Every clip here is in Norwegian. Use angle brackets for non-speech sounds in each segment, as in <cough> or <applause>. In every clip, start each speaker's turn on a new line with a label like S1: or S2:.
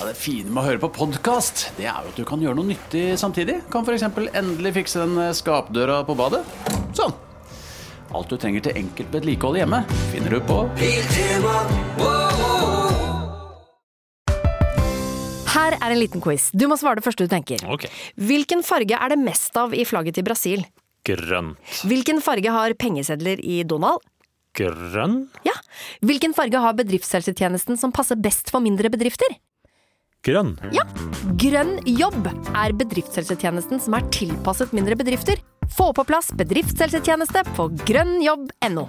S1: Ja, det fine med å høre på podkast, det er jo at du kan gjøre noe nyttig samtidig. Kan f.eks. endelig fikse den eh, skapdøra på badet. Sånn. Alt du trenger til enkelt vedlikehold hjemme, finner du på
S2: Her er en liten quiz. Du må svare det første du tenker.
S3: Ok.
S2: Hvilken farge er det mest av i flagget til Brasil?
S3: Grønt.
S2: Hvilken farge har pengesedler i Donald?
S3: Grønn.
S2: Ja. Hvilken farge har bedriftshelsetjenesten som passer best for mindre bedrifter?
S3: Grønn.
S2: Ja. Grønn jobb er bedriftshelsetjenesten som er tilpasset mindre bedrifter. Få på plass bedriftshelsetjeneste på grønnjobb.no.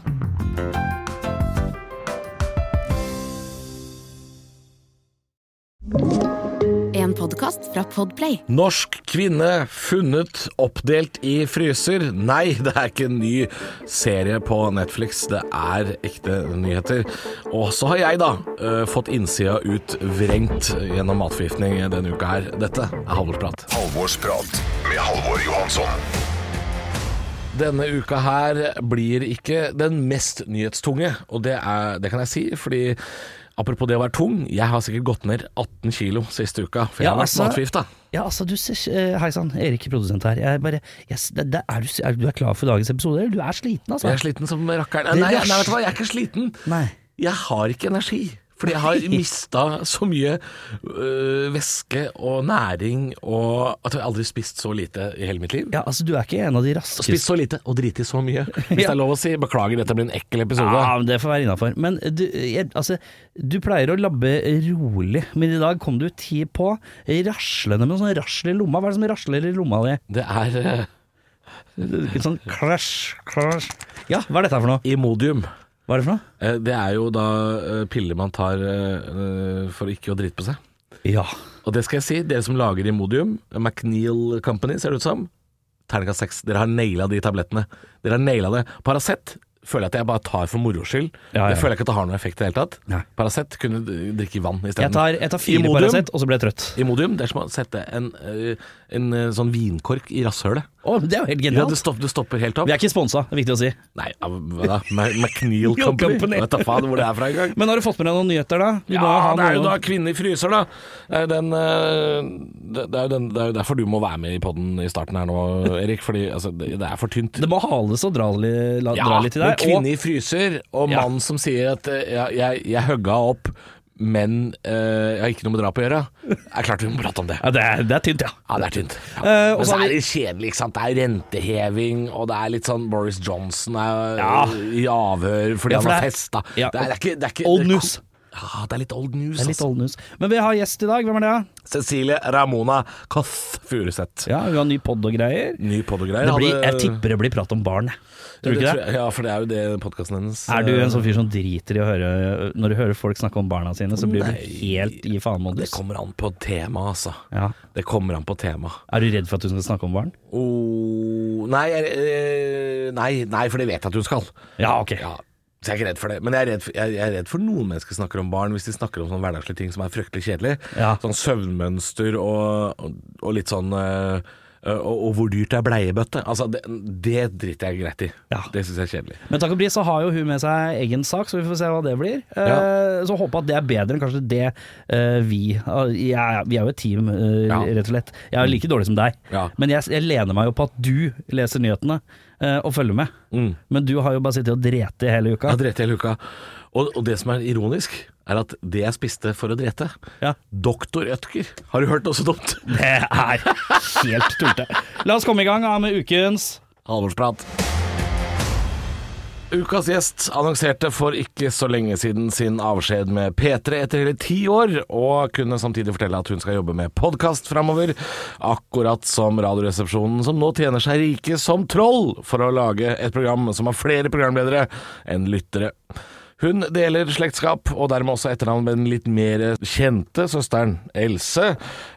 S4: En podkast fra Podplay.
S5: Norsk kvinne funnet oppdelt i fryser. Nei, det er ikke en ny serie på Netflix, det er ekte nyheter. Og så har jeg da eh, fått innsida ut vrengt gjennom matforgiftning denne uka her. Dette er Halvorsprat.
S6: Halvorsprat med Halvor Johansson.
S5: Denne uka her blir ikke den mest nyhetstunge, og det, er, det kan jeg si, fordi apropos det å være tung, jeg har sikkert gått ned 18 kilo siste uka, for jeg
S7: Ja,
S5: har vært
S7: altså-
S5: matforgifta.
S7: Ja, altså, du ser eh, Hei sann, Erik produsent her. Jeg bare yes, det, det er du, er, du er klar for dagens episode? eller? Du er sliten, altså?
S5: Jeg er sliten som rakkeren.
S7: Det
S5: Nei,
S7: er-
S5: nei, vet du hva, jeg er ikke sliten.
S7: Nei.
S5: Jeg har ikke energi. Fordi jeg har mista så mye øh, væske og næring og at jeg aldri har spist så lite i hele mitt liv.
S7: Ja, altså, du er ikke en av de raskeste
S5: Spist så lite og driti så mye, hvis det er lov å si. Beklager, dette blir en ekkel episode.
S7: Ja, men det får være innafor. Men du, jeg, altså, du pleier å labbe rolig, men i dag kom du ti på raslende med noe sånn rasler i lomma. Hva er det som rasler i lomma di?
S5: Det er øh,
S7: Litt sånn klasj, klasj. Ja, hva er dette her for noe?
S5: Imodium.
S7: Hva er det for noe?
S5: Eh, Det er jo da eh, piller man tar eh, eh, for ikke å drite på seg.
S7: Ja.
S5: Og det skal jeg si, dere som lager Imodium, McNeil Company ser det ut som, terningkast 6, dere har naila de tablettene. Dere har naila det. Paracet føler jeg at jeg bare tar for moro skyld.
S7: Ja, ja.
S5: Jeg føler ikke at det har noen effekt i det hele tatt.
S7: Nei.
S5: Paracet kunne d- drikke vann
S7: Jeg
S5: isteden.
S7: tar, jeg tar fire
S5: Imodium.
S7: Paracet, og så blir jeg trøtt.
S5: Imodium, det er som å sette en, eh, en eh, sånn vinkork i rasshølet.
S7: Å, det er jo helt
S5: Ja, du,
S7: genialt.
S5: stopp, du stopper helt opp.
S7: Vi er ikke sponsa, det er viktig å si.
S5: Nei, ja, hva da? Ma- McNeil
S7: <laughs> Jo,
S5: Company?
S7: Company.
S5: Vet da faen hvor det er fra engang.
S7: Men har du fått med deg noen nyheter, da? Du må jo
S5: Ja,
S7: ha
S5: det er jo
S7: noe-
S5: da kvinner fryser, da. Det er jo den, eh, det det er jo den, det er jo derfor du må være med i poden i starten her nå, Erik. Fordi altså, det det er for tynt.
S7: Det må hales og dra, li- la, dra
S5: Ja,
S7: litt i
S5: men
S7: deg.
S5: kvinner fryser, og
S7: Ja.
S5: mannen som sier at eh, ja, jeg, jeg hugga opp, men eh, jeg har ikke noe med drap å gjøre. Det er klart vi må prate om det.
S7: ja, det, er, det er tynt, ja.
S5: Ja, det er tynt. Ja.
S7: Eh, og
S5: men
S7: så
S5: så
S7: har
S5: er
S7: vi-
S5: det kjedelig, ikke sant. Det er renteheving, og det er litt sånn Boris Johnson er eh,
S7: Ja.
S5: i avhør fordi
S7: Ja, for
S5: han har
S7: det er-
S5: festa.
S7: Ja.
S5: Det, er, det er ikke, det er ikke
S7: Old
S5: det er-
S7: news.
S5: Ja, det er litt old news.
S7: Det er litt
S5: altså.
S7: old news. Men vi har gjest i dag. Hvem er det? da?
S5: Cecilie Ramona Koth Furuseth.
S7: Ja, Hun har ny pod og greier.
S5: Ny podd og greier.
S7: Det blir,
S5: Hadde-
S7: jeg tipper det blir prat om barn, jeg. Tror
S5: Ja,
S7: du
S5: det
S7: ikke
S5: tror
S7: det?
S5: jeg- Ja, for det er jo det podkasten hennes eh,
S7: Er du en sånn fyr som driter i å høre Når du hører folk snakke om barna sine, så blir du helt i
S5: Det
S7: faenmodus?
S5: kommer an på tema, altså.
S7: Ja.
S5: Det kommer an på tema.
S7: Er du redd for at hun skal snakke om barn?
S5: Oh, nei, jeg, eh, nei, nei, for det vet jeg at hun skal.
S7: Ja, ok.
S5: Ja, så jeg er ikke redd for det. Men jeg er redd for, jeg, jeg er redd for noen mennesker snakker om barn hvis de snakker om sånne hverdagslige ting som er fryktelig kjedelig.
S7: Ja.
S5: Sånn søvnmønster og, og, og litt sånn eh, og, og hvor dyrt er bleiebøtte? Altså, det, det driter jeg greit i.
S7: Ja.
S5: Det syns jeg er kjedelig.
S7: Men takk og pris så har jo hun med seg egen sak, så vi får se hva det blir. Eh, så håper at det er bedre enn kanskje det eh, vi ah, jeg, Vi er jo et team, eh,
S5: Ja. Mm.
S7: rett og slett. Jeg er jo like dårlig som deg,
S5: Ja.
S7: men jeg, jeg lener meg jo på at du leser nyhetene eh, og følger med.
S5: Mm.
S7: Men du har jo bare sittet og drete i hele uka.
S5: Jeg drepte hele uka. Og, og det som er ironisk, er at det jeg spiste for å drete
S7: Ja.
S5: Doktor Ødker. Har du hørt noe så dumt?
S7: Det er helt tullete. La oss komme i gang med ukens
S5: Halvorsprat. Ukas gjest annonserte for ikke så lenge siden sin avskjed med P3 etter hele ti år, og kunne samtidig fortelle at hun skal jobbe med podkast framover, akkurat som Radioresepsjonen, som nå tjener seg rike som troll for å lage et program som har flere programledere enn lyttere. Hun deler slektskap, og dermed også etternavn med den litt mer kjente søsteren Else,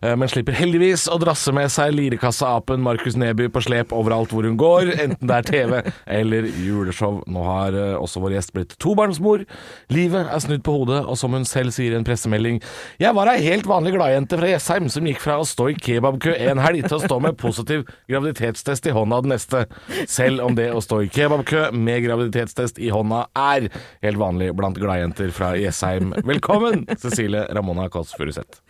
S5: eh, men slipper heldigvis å drasse med seg lirekasseapen Markus Neby på slep overalt hvor hun går, enten det er TV eller juleshow. Nå har eh, også vår gjest blitt tobarnsmor. Livet er snudd på hodet, og som hun selv sier i en pressemelding Jeg var ei helt vanlig gladjente fra Jessheim som gikk fra å stå i kebabkø en helg til å stå med positiv graviditetstest i hånda den neste. Selv om det å stå i kebabkø med graviditetstest i hånda er helt vanlig vanlig blant gladjenter fra Jessheim. Velkommen, Cecilie Ramona Kåss Furuseth.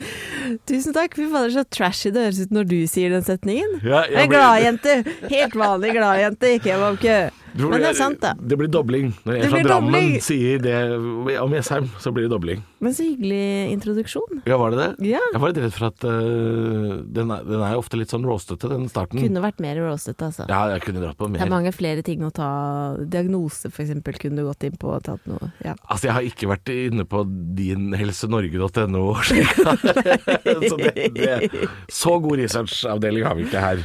S8: Tusen takk. Fy fader, så trashy det høres ut når du sier den setningen.
S5: Ja, jeg
S8: jeg er
S5: blir-
S8: gladjente. Helt vanlig gladjente i kebabkø. Men det er sant, da.
S5: Det blir dobling. Når
S8: Det
S5: en fra
S8: blir
S5: Drammen
S8: dobling.
S5: sier det om Jessheim, så blir det dobling.
S8: Men så hyggelig introduksjon.
S5: Ja, var det det?
S8: Ja.
S5: Jeg var litt redd for at øh, den, er, den er jo ofte litt sånn roastete, den starten.
S8: Kunne vært mer roastete, altså.
S5: Ja, jeg kunne dratt på
S8: Det
S5: mer.
S8: er mange flere ting å ta. Diagnose, for eksempel, kunne du gått inn på og tatt noe. Ja.
S5: Altså, jeg har ikke vært inne på dinhelsenorge.no. slik at-
S8: <laughs>
S5: så, det, det, så god researchavdeling har vi ikke her.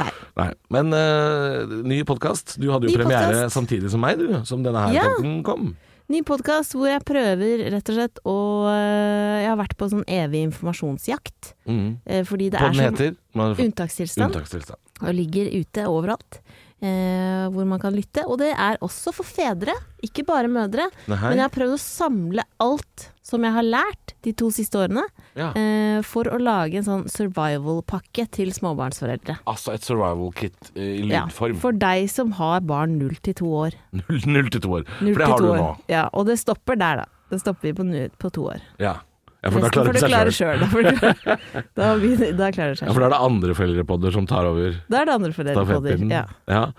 S8: Nei.
S5: Nei. Men øh, ny podkast. Du hadde jo
S8: Ny
S5: premiere
S8: podcast.
S5: samtidig som meg, du, som denne her
S8: Ja.
S5: podden kom.
S8: Ny podkast hvor jeg prøver, rett og slett, å øh, Jeg har vært på en sånn evig informasjonsjakt.
S5: Mm.
S8: eh, Fordi det
S5: Podden
S8: er sånn
S5: heter Man har fått-
S8: unntakstilstand.
S5: Unntakstilstand.
S8: og ligger ute overalt. Eh, hvor man kan lytte. Og det er også for fedre, ikke bare mødre.
S5: Nei.
S8: Men jeg har prøvd å samle alt som jeg har lært de to siste årene,
S5: Ja.
S8: eh, for å lage en sånn survival-pakke til småbarnsforeldre.
S5: Altså et survival kit eh, i
S8: Ja,
S5: lydform.
S8: for deg som har barn null til to år.
S5: Null null til to år.
S8: Null
S5: For det
S8: til
S5: har
S8: to
S5: du
S8: år.
S5: nå.
S8: Ja, og det stopper der, da. Det stopper vi på, nu- på to år.
S5: Ja. ja for da
S8: Resten
S5: klarer
S8: får
S5: det
S8: du
S5: seg
S8: klare
S5: sjøl.
S8: sjøl. Da, får du- da, <laughs> begynner- da klarer det
S5: Ja,
S8: seg
S5: for
S8: sjøl.
S5: da er det andre foreldrepodder som tar over
S8: Da er det andre foreldre på det.
S5: stafettpinnen.
S8: Ja.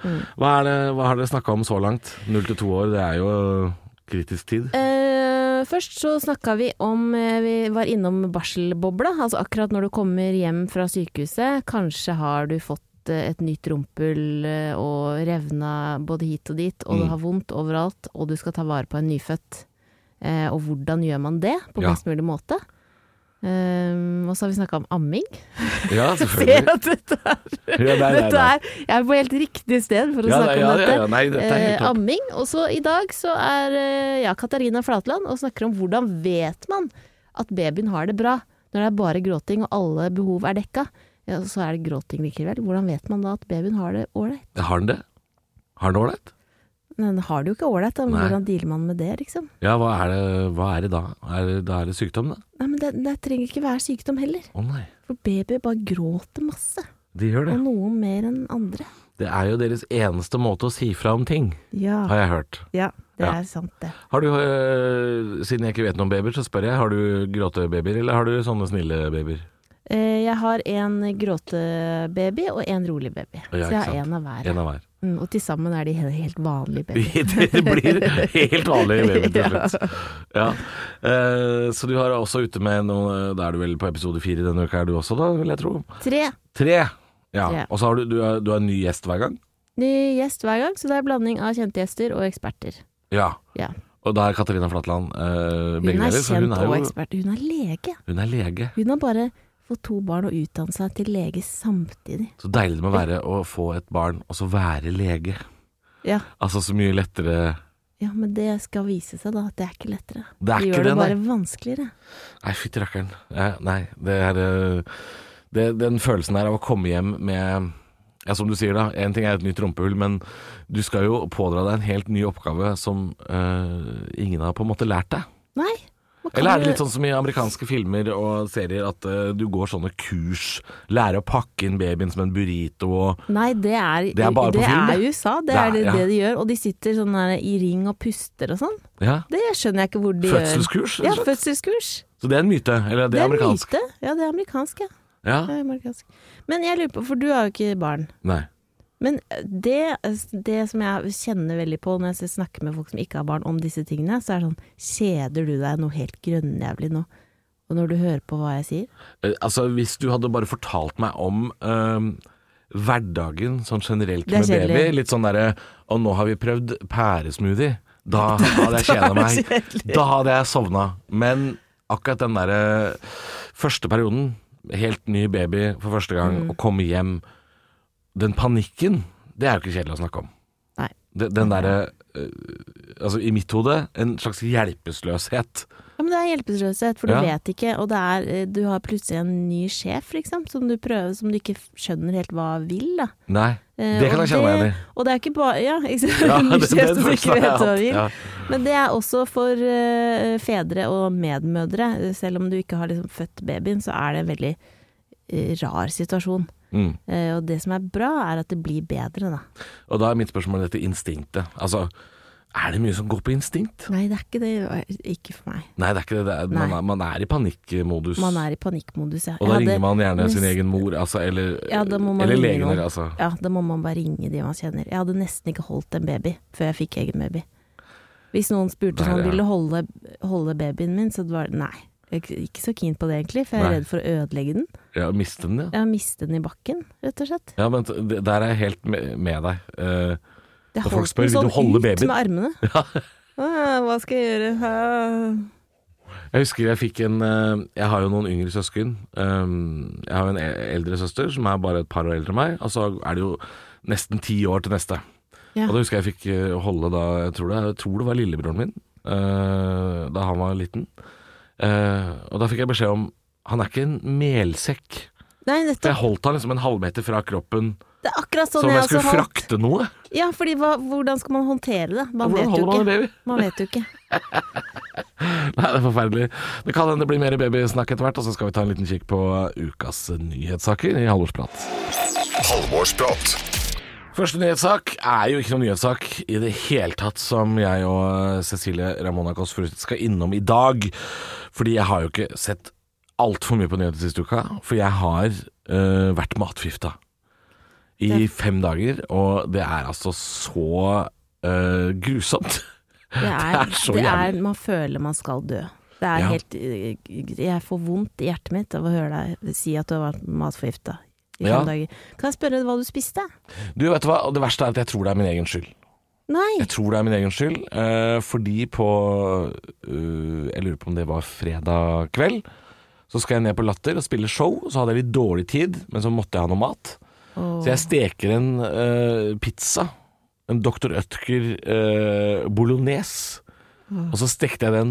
S8: Mm.
S5: Ja. Hva, er det, hva har dere snakka om så langt? Null til to år, det er jo kritisk
S8: <laughs>
S5: tid.
S8: Eh, først så snakka vi om eh, Vi var innom barselbobla. Altså akkurat når du kommer hjem fra sykehuset, kanskje har du fått eh, et nytt rumpehull eh, og revna både hit og dit, og
S5: Mm.
S8: du har vondt overalt, og du skal ta vare på en nyfødt. Eh, og hvordan gjør man det på
S5: Ja.
S8: best mulig måte? Eh, og så har vi snakka om amming. <laughs>
S5: Ja,
S8: Se
S5: selvfølgelig.
S8: at dette er,
S5: Ja, nei, nei,
S8: dette
S5: nei.
S8: er Jeg er på helt riktig sted for å
S5: Ja,
S8: snakke
S5: ja,
S8: om
S5: ja,
S8: dette.
S5: ja, nei, dette er helt
S8: Eh,
S5: topp.
S8: amming. Og så i dag så er eh, ja, Katarina Flatland og snakker om hvordan vet man at babyen har det bra når det er bare gråting og alle behov er dekka. Ja, og så er det gråting likevel. Hvordan vet man da at babyen har det ålreit?
S5: Har den det? Har den ålreit?
S8: Men den har det jo ikke ålreit, da, men
S5: Nei.
S8: hvordan dealer man med det, liksom?
S5: Ja, hva er det, hva er det da? Er det, da er det sykdom, da?
S8: Nei, men det, det trenger ikke være sykdom heller,
S5: Å nei,
S8: for babyer bare gråter masse.
S5: de gjør det.
S8: Og noen mer enn andre.
S5: Det er jo deres eneste måte å si fra om ting,
S8: Ja,
S5: har jeg hørt.
S8: ja det
S5: Ja.
S8: er sant, det.
S5: Har du, øh, Siden jeg ikke vet noe om babyer, så spør jeg. Har du gråtebabyer, eller har du sånne snille babyer?
S8: Eh, Jeg har en gråtebaby og en rolig baby.
S5: Ja,
S8: så
S5: ikke
S8: jeg har
S5: sant.
S8: én av hver.
S5: En av hver. <laughs>
S8: Mm, og til sammen er de he- helt vanlige babyer.
S5: Det blir
S8: <laughs>
S5: helt vanlige babyer til slutt. Ja. Eh, Så du har også ute med noe Da er du vel på episode fire denne uka, er du også, da, vil jeg tro?
S8: Tre
S5: Tre! Ja.
S8: Tre.
S5: Og så har du, du, er, du er en ny gjest hver gang?
S8: ny gjest hver gang, så det er blanding av kjente gjester og eksperter.
S5: Ja.
S8: Ja.
S5: Og da er Katarina Flatland eh,
S8: Hun
S5: begge
S8: er
S5: deler. for
S8: kjent og
S5: jo-
S8: ekspert. Hun er lege.
S5: Hun er lege.
S8: Hun har bare fått to barn og utdannet seg til lege samtidig.
S5: Så deilig det må være å få et barn, og så være lege.
S8: Ja,
S5: Altså så mye lettere
S8: ja men det skal vise seg da, at det er ikke lettere.
S5: Det er
S8: de
S5: ikke det,
S8: gjør det
S5: nei.
S8: bare vanskeligere.
S5: Nei, fytti rakkeren. Ja, nei, det er eh, det, Den følelsen der av å komme hjem med ja, Som du sier, da. Én ting er et nytt rumpehull, men du skal jo pådra deg en helt ny oppgave som eh, ingen har på en måte lært deg.
S8: Nei. man kan
S5: Eller er det
S8: jo-
S5: litt sånn som i amerikanske filmer og serier at eh, du går sånne kurs, lærer å pakke inn babyen som en burrito og
S8: Nei, det er,
S5: Det er bare på film,
S8: er
S5: det.
S8: USA. Det
S5: Det er-
S8: er det,
S5: ja.
S8: det de gjør. Og de sitter sånn her i ring og puster og sånn.
S5: Ja.
S8: Det skjønner jeg ikke hvor de
S5: Fødselskurs,
S8: gjør. Ja,
S5: rett og slett.
S8: fødselskurs.
S5: Så det er en myte. Eller det,
S8: Det
S5: er
S8: er
S5: amerikansk.
S8: myte. Ja, det er amerikansk, ja.
S5: Ja.
S8: Det er amerikansk. Men jeg lurer på, for du har jo ikke barn.
S5: Nei.
S8: Men eh, det, det som jeg kjenner veldig på når jeg snakker med folk som ikke har barn om disse tingene, så er det sånn Kjeder du deg noe helt grønnjævlig nå? Og når du hører på hva jeg
S5: <laughs>
S8: sier?
S5: Eh, Altså, hvis du hadde bare fortalt meg om øhm, hverdagen sånn generelt
S8: Det er
S5: med
S8: kjedelig.
S5: baby, litt sånn derre Og nå har vi prøvd pæresmoothie. Da
S8: <laughs>
S5: hadde jeg kjeda meg. Da hadde jeg sovna. Men akkurat den derre første perioden, helt ny baby for første gang,
S8: Mm.
S5: å komme hjem Den panikken, det er jo ikke kjedelig å snakke om.
S8: Nei.
S5: De- Den derre øh, Altså, i mitt hode, en slags hjelpeløshet.
S8: Ja, men det er hjelpeløshet, for du
S5: Ja.
S8: vet ikke. Og det er, eh, du har plutselig en ny sjef, liksom, som du prøver, som du ikke skjønner helt hva vil, da.
S5: Nei,
S8: Eh,
S5: det kan
S8: og
S5: jeg kjenne meg igjen i.
S8: Og det er ikke bare Ja, ikke sant? <laughs>
S5: Ja,
S8: Ny
S5: det-
S8: sjef
S5: den
S8: som
S5: følelsen har
S8: ikke
S5: jeg
S8: vet hva
S5: hatt,
S8: vil.
S5: ja.
S8: Men det er også for eh, fedre og medmødre. Selv om du ikke har liksom, født babyen, så er det en veldig eh, rar situasjon.
S5: Mm.
S8: Eh, og det som er bra, er at det blir bedre, da.
S5: Og da er mitt spørsmål dette instinktet. Altså, Er det mye som går på instinkt?
S8: Nei, det er ikke det. Ikke for meg.
S5: Nei, det er ikke det. det er, man,
S8: Nei.
S5: er, man er i panikkmodus.
S8: Man er i panikkmodus, ja.
S5: og da
S8: Jeg hadde
S5: ringer man gjerne sin
S8: nest-
S5: egen mor, altså, eller,
S8: Ja, da må man
S5: eller
S8: ringe
S5: legen.
S8: noen.
S5: eller, Altså.
S8: Ja, da må man bare ringe de man kjenner. Jeg hadde nesten ikke holdt en baby før jeg fikk egen baby. Hvis noen spurte
S5: Der,
S8: om han
S5: ja.
S8: ville holde, holde babyen min, så var det nei. Jeg er ikke så keen på det egentlig, for jeg er
S5: Nei.
S8: redd for å ødelegge den.
S5: Ja, miste den, ja.
S8: Jeg har mistet den i bakken, rett og slett.
S5: Ja, men t- det- der er jeg helt me- med deg. Eh,
S8: Jeg
S5: Da folk
S8: holdt
S5: spør,
S8: den sånn
S5: vil du holde
S8: ut
S5: babyen?
S8: med
S5: <laughs>
S8: armene. Ah, Hva skal jeg gjøre? Ah.
S5: Jeg husker jeg fikk en eh, Jeg har jo noen yngre søsken. Um, Jeg har jo en e- eldre søster som er bare et par år eldre enn meg, og så er det jo nesten ti år til neste.
S8: Ja.
S5: Og da husker jeg jeg fikk eh, holde da jeg tror, det, jeg tror det var lillebroren min, eh, da han var liten. Eh, og da fikk jeg beskjed om Han er ikke en melsekk.
S8: Nei,
S5: For jeg
S8: nettopp.
S5: holdt han liksom en halvmeter fra kroppen
S8: Det er akkurat sånn
S5: som om jeg
S8: jeg også
S5: skulle
S8: holdt.
S5: frakte noe.
S8: Ja, fordi hva, hvordan skal man håndtere det? Man
S5: Hvordan
S8: vet jo
S5: holder man en
S8: ikke.
S5: baby? <laughs>
S8: Man vet jo ikke.
S5: Nei, det er forferdelig. Det kan hende det blir mer babysnakk etter hvert, og så skal vi ta en liten kikk på ukas nyhetssaker i Halvorsprat.
S6: Halvorsprat.
S5: Første nyhetssak er jo ikke noen nyhetssak i det hele tatt som jeg og eh, Cecilie Ramona Kåss Furuseth skal innom i dag. Fordi jeg har jo ikke sett altfor mye på nyheter siste uka, for jeg har øh, vært matforgifta i fem dager, og det er altså så øh, grusomt. <laughs>
S8: Det er,
S5: Det er så
S8: det
S5: jævlig.
S8: er, man føler man skal dø. Det er
S5: Ja.
S8: helt øh, Jeg får vondt i hjertet mitt av å høre deg si at du har vært matforgifta i fem
S5: Ja.
S8: dager. Kan jeg spørre hva du spiste?
S5: Du vet du hva, og det verste er at jeg tror det er min egen skyld.
S8: Nei!
S5: Jeg tror det er min egen skyld, eh, fordi på eh, Jeg lurer på om det var fredag kveld. Så skal jeg ned på Latter og spille show. Så hadde jeg litt dårlig tid, men så måtte jeg ha noe mat.
S8: Åh.
S5: Så jeg steker en eh, pizza. En Dr. Ødker eh, bolognese. Og så stekte jeg den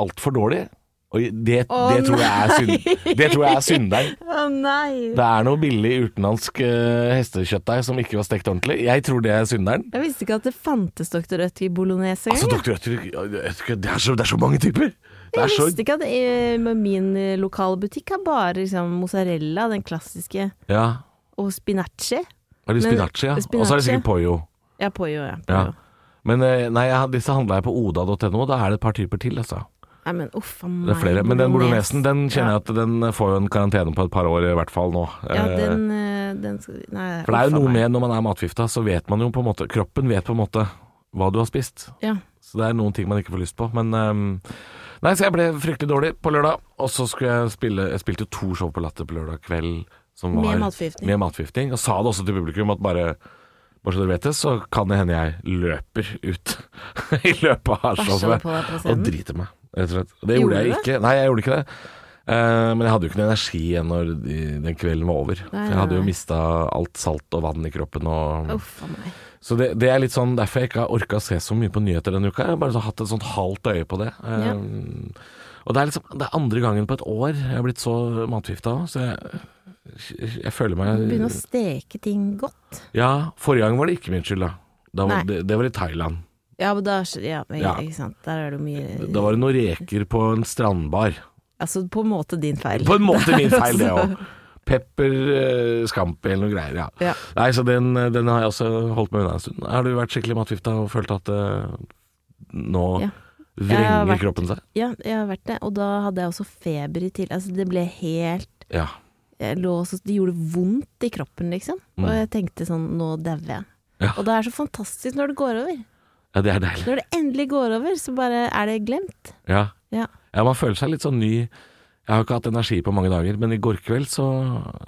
S5: altfor dårlig. Og det,
S8: Å,
S5: det, tror jeg er synd, det tror jeg er synderen.
S8: Å nei!
S5: Det er noe billig utenlandsk eh, hestekjøttdeig som ikke var stekt ordentlig. Jeg tror det er synderen.
S8: Jeg visste ikke at det fantes Dr. Rødt i bolognese
S5: Altså,
S8: engang. jeg.
S5: Dr. Ødker det, er så- det er så mange typer! Det er
S8: jeg
S5: så,
S8: visste ikke at eh, men min eh, lokale butikk har bare liksom, mozzarella, den klassiske,
S5: ja,
S8: og spinacci.
S5: er det
S8: Men-
S5: spinacci, ja?
S8: spinacci.
S5: Og så er det sikkert pollo.
S8: Ja, pojo, ja.
S5: Ja.
S8: Pollo.
S5: Men eh, nei, jeg, hadde- disse handla jeg på oda.no, da er det et par typer til, altså.
S8: Nei, men uff a meg.
S5: Det er flere. Men den
S8: bolognese.
S5: bolognesen den kjenner
S8: Ja.
S5: jeg at den får jo en karantene på et par år i hvert fall nå.
S8: Ja,
S5: Eh,
S8: den, eh, den skal Nei.
S5: For det er
S8: uff
S5: jo
S8: a
S5: noe
S8: meg.
S5: med når man er matforgifta, så vet man jo på en måte Kroppen vet på en måte hva du har spist.
S8: Ja.
S5: Så det er noen ting man ikke får lyst på. Men ehm, Nei, så jeg ble fryktelig dårlig på lørdag, og så skulle jeg spille Jeg spilte jo to show på Latter på lørdag kveld som
S8: Med
S5: var
S8: matforgiftning.
S5: med matforgiftning. Og sa det også til publikum at bare bare så dere vet det, så kan det hende jeg løper ut <laughs> i løpet av
S8: Bæsja du
S5: showet
S8: på deg på
S5: og
S8: scenen?
S5: driter meg, rett og slett. Og Det
S8: Gjorde
S5: gjorde jeg
S8: du det?
S5: ikke. Nei, jeg gjorde ikke det. Eh, men jeg hadde jo ikke noe energi igjen når de, den kvelden var over.
S8: Nei,
S5: For jeg hadde
S8: nei,
S5: jo
S8: nei.
S5: mista alt salt og vann i kroppen. Og,
S8: Uff a meg.
S5: så det, det er litt sånn derfor jeg ikke har orka å se så mye på nyheter denne uka. Jeg har bare så hatt et sånt halvt øye på det.
S8: Ja.
S5: Eh, Og det er liksom det er andre gangen på et år jeg har blitt så matforgifta òg, så jeg, jeg føler meg
S8: Begynne å steke ting godt.
S5: Ja, forrige gang var det ikke min skyld, da. da
S8: Nei.
S5: var, det, det var i Thailand.
S8: Ja, men da ja, men,
S5: Ja.
S8: Ikke sant. Der er det jo mye
S5: Da var det noen reker på en strandbar.
S8: Altså på en måte din feil.
S5: På en måte min feil, det
S8: Altså,
S5: òg.
S8: <laughs>
S5: Pepper, eh, scampi eller noe greier. Ja.
S8: Ja.
S5: Nei, så den, den har jeg også holdt meg unna en stund. Har du vært skikkelig matforgifta og følt at eh, nå
S8: Ja. Jeg har
S5: vrenger
S8: vært-
S5: kroppen seg?
S8: Ja, jeg har vært det. Og da hadde jeg også feber i tillegg. Altså det ble helt
S5: Ja.
S8: jeg lå så, Det gjorde vondt i kroppen, liksom. Og jeg tenkte sånn Nå dauer jeg.
S5: Mm. Ja.
S8: Og det er så fantastisk når det går over.
S5: ja, det er deilig.
S8: Når det endelig går over, så bare er det glemt.
S5: Ja.
S8: Ja.
S5: ja, man føler seg litt sånn ny. Jeg har ikke hatt energi på mange dager, men i går kveld så,